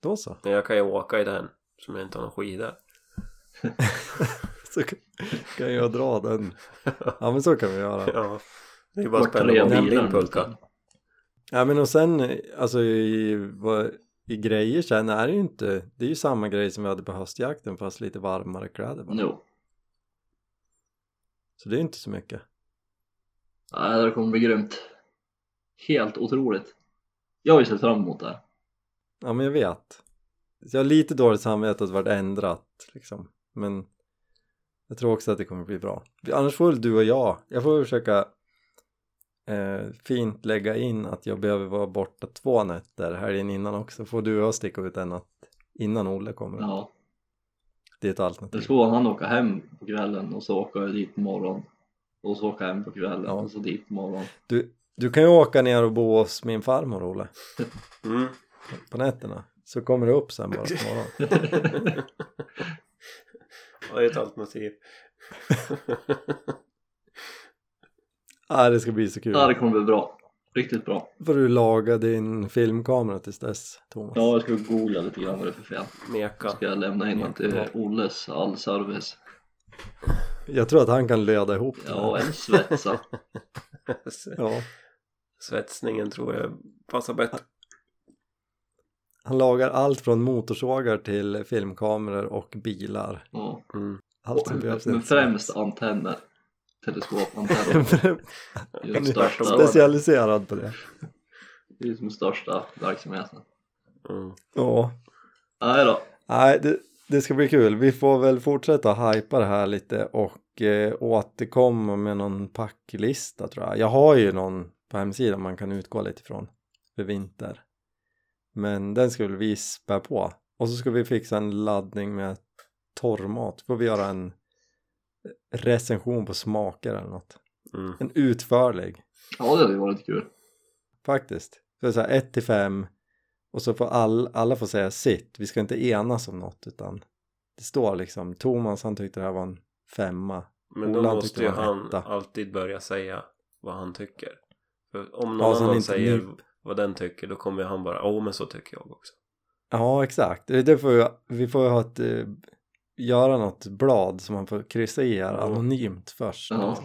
Då så.
men jag kan ju åka i den. Som jag inte har någon skida.
*laughs* Så kan- kan jag dra den. *laughs* Ja men så kan vi göra.
*laughs* Ja. Det är ju bara
Vart tre
spännande om
bilar
din pulka.
nu.
Ja men och sen, eh, alltså i, vad- i grejer sen är det ju inte. Det är ju samma grej som vi hade på höstjakten fast lite varmare kläder bara.
Jo,
Så det är inte så mycket.
ja, det kommer bli grymt. Helt otroligt. Jag har ju sett fram emot det här.
Ja men jag vet. Så jag har lite dåligt samvete att det varit ändrat liksom. Men jag tror också att det kommer bli bra. Annars får väl du och jag, jag får väl försöka eh, fint lägga in att jag behöver vara borta två nätter helgen innan också. Får du och jag sticka ut en natt innan Olle kommer.
Ja,
Det är ett
då
alternativ.
får han åka hem på kvällen och så åker jag dit på morgonen. Och så åker jag hem på kvällen
Ja.
och så dit på morgonen.
Du, du kan ju åka ner och bo hos min farmor Olle
Mm.
på nätterna. Så kommer du upp sen bara på
*laughs*
morgonen.
Ja, det är ett alternativ.
Ah, det ska bli så kul.
Ja, det kommer bli bra. Riktigt bra.
Får du laga din filmkamera tills dess Thomas.
Ja, jag ska googla lite grann vad det är för fel.
Meka.
Så ska jag lämna in att det är Olles all service.
Jag tror att han kan löda ihop det här.
Ja, en svetsa.
Ja,
*laughs* Svetsningen tror jag passar bättre.
han lagar allt från motorsågar till filmkameror och bilar.
Ja.
Mm.
Allt som behövs.
Men
*laughs*
främst antenner. Teleskopantenner. Det är
Han
den
är
största,
specialiserad på det.
det är ju som den största verksamheten.
Mm.
Ja,
Nej då,
nej, det, det ska bli kul. Vi får väl fortsätta hypa det här lite och eh, återkomma med någon packlista tror jag. Jag har ju någon på hemsidan man kan utgå lite ifrån för vinter. Men den ska väl vi spä på. Och så ska vi fixa en laddning med torrmat. Får vi göra en recension på smaker eller något.
Mm.
En utförlig
ja det hade ju varit kul.
faktiskt. Så det är så här 1 till 5 och så får all, alla får säga sitt. Vi ska inte enas om något utan det står liksom Thomas han tyckte det här var en femma.
Men då
Ola
måste
tyckte
ju
det var
han
etta.
alltid börja säga vad han tycker. För om
Ja, så
någon
han
annan
inte
säger
nyp.
vad den tycker då kommer han bara åh men så tycker jag också.
Ja, exakt. Det får ju, vi får ju ha ett, eh, göra något blad som man får kryssa i här
Ja.
anonymt först.
Ja,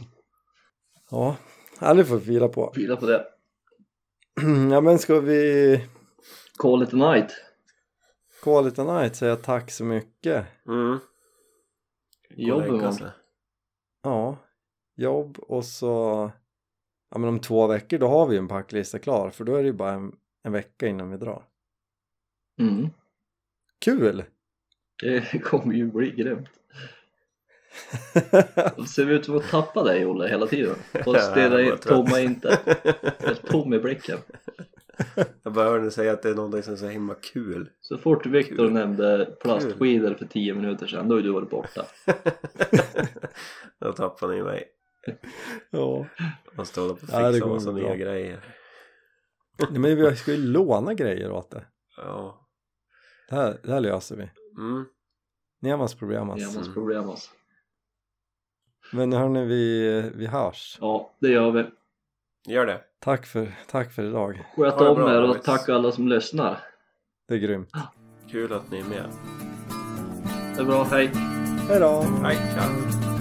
Ja, ja det får vi fila på. *clears throat*
fila på det.
ja, men ska vi
Call it a night.
call it a night säga tack så mycket?
Mm.
Jobb imorgon.
alltså.
Ja, jobb och så ja, men om två veckor då har vi en packlista klar för då är det ju bara en, en vecka innan vi drar.
Mm.
Kul! *laughs*
Det *laughs* kommer ju bli grymt. Det ser ut som att tappa dig Olle hela
*laughs*
tiden. Och stirra
Jag
in
var trött.
tomma inte. Helt tom i blicken.
*laughs* Jag bara hörde dig säga att det är någonting som är så himla
*laughs*
kul.
Så fort Viktor
Kul.
nämnde plastskidor för 10 minuter sedan, då är du varit borta.
Då tappade ni mig.
ja.
Man står och fixa
Ja, det kommer
massa
bli
nya
bra.
grejer.
Nej, men vi ska ju låna grejer åt det.
Ja.
Det här, det här löser vi.
Mm.
Nemas problem alltså.
Jävlas problem alltså.
Men hörni, vi, vi hörs.
Ja, det gör vi.
Gör det.
Tack för, tack för idag.
Sköt
Ha det
om
bra,
er och
boys.
tack alla som lyssnar.
Det är grymt.
Kul att ni är med.
Det är bra, hej!
Hej då!
Hej, tja.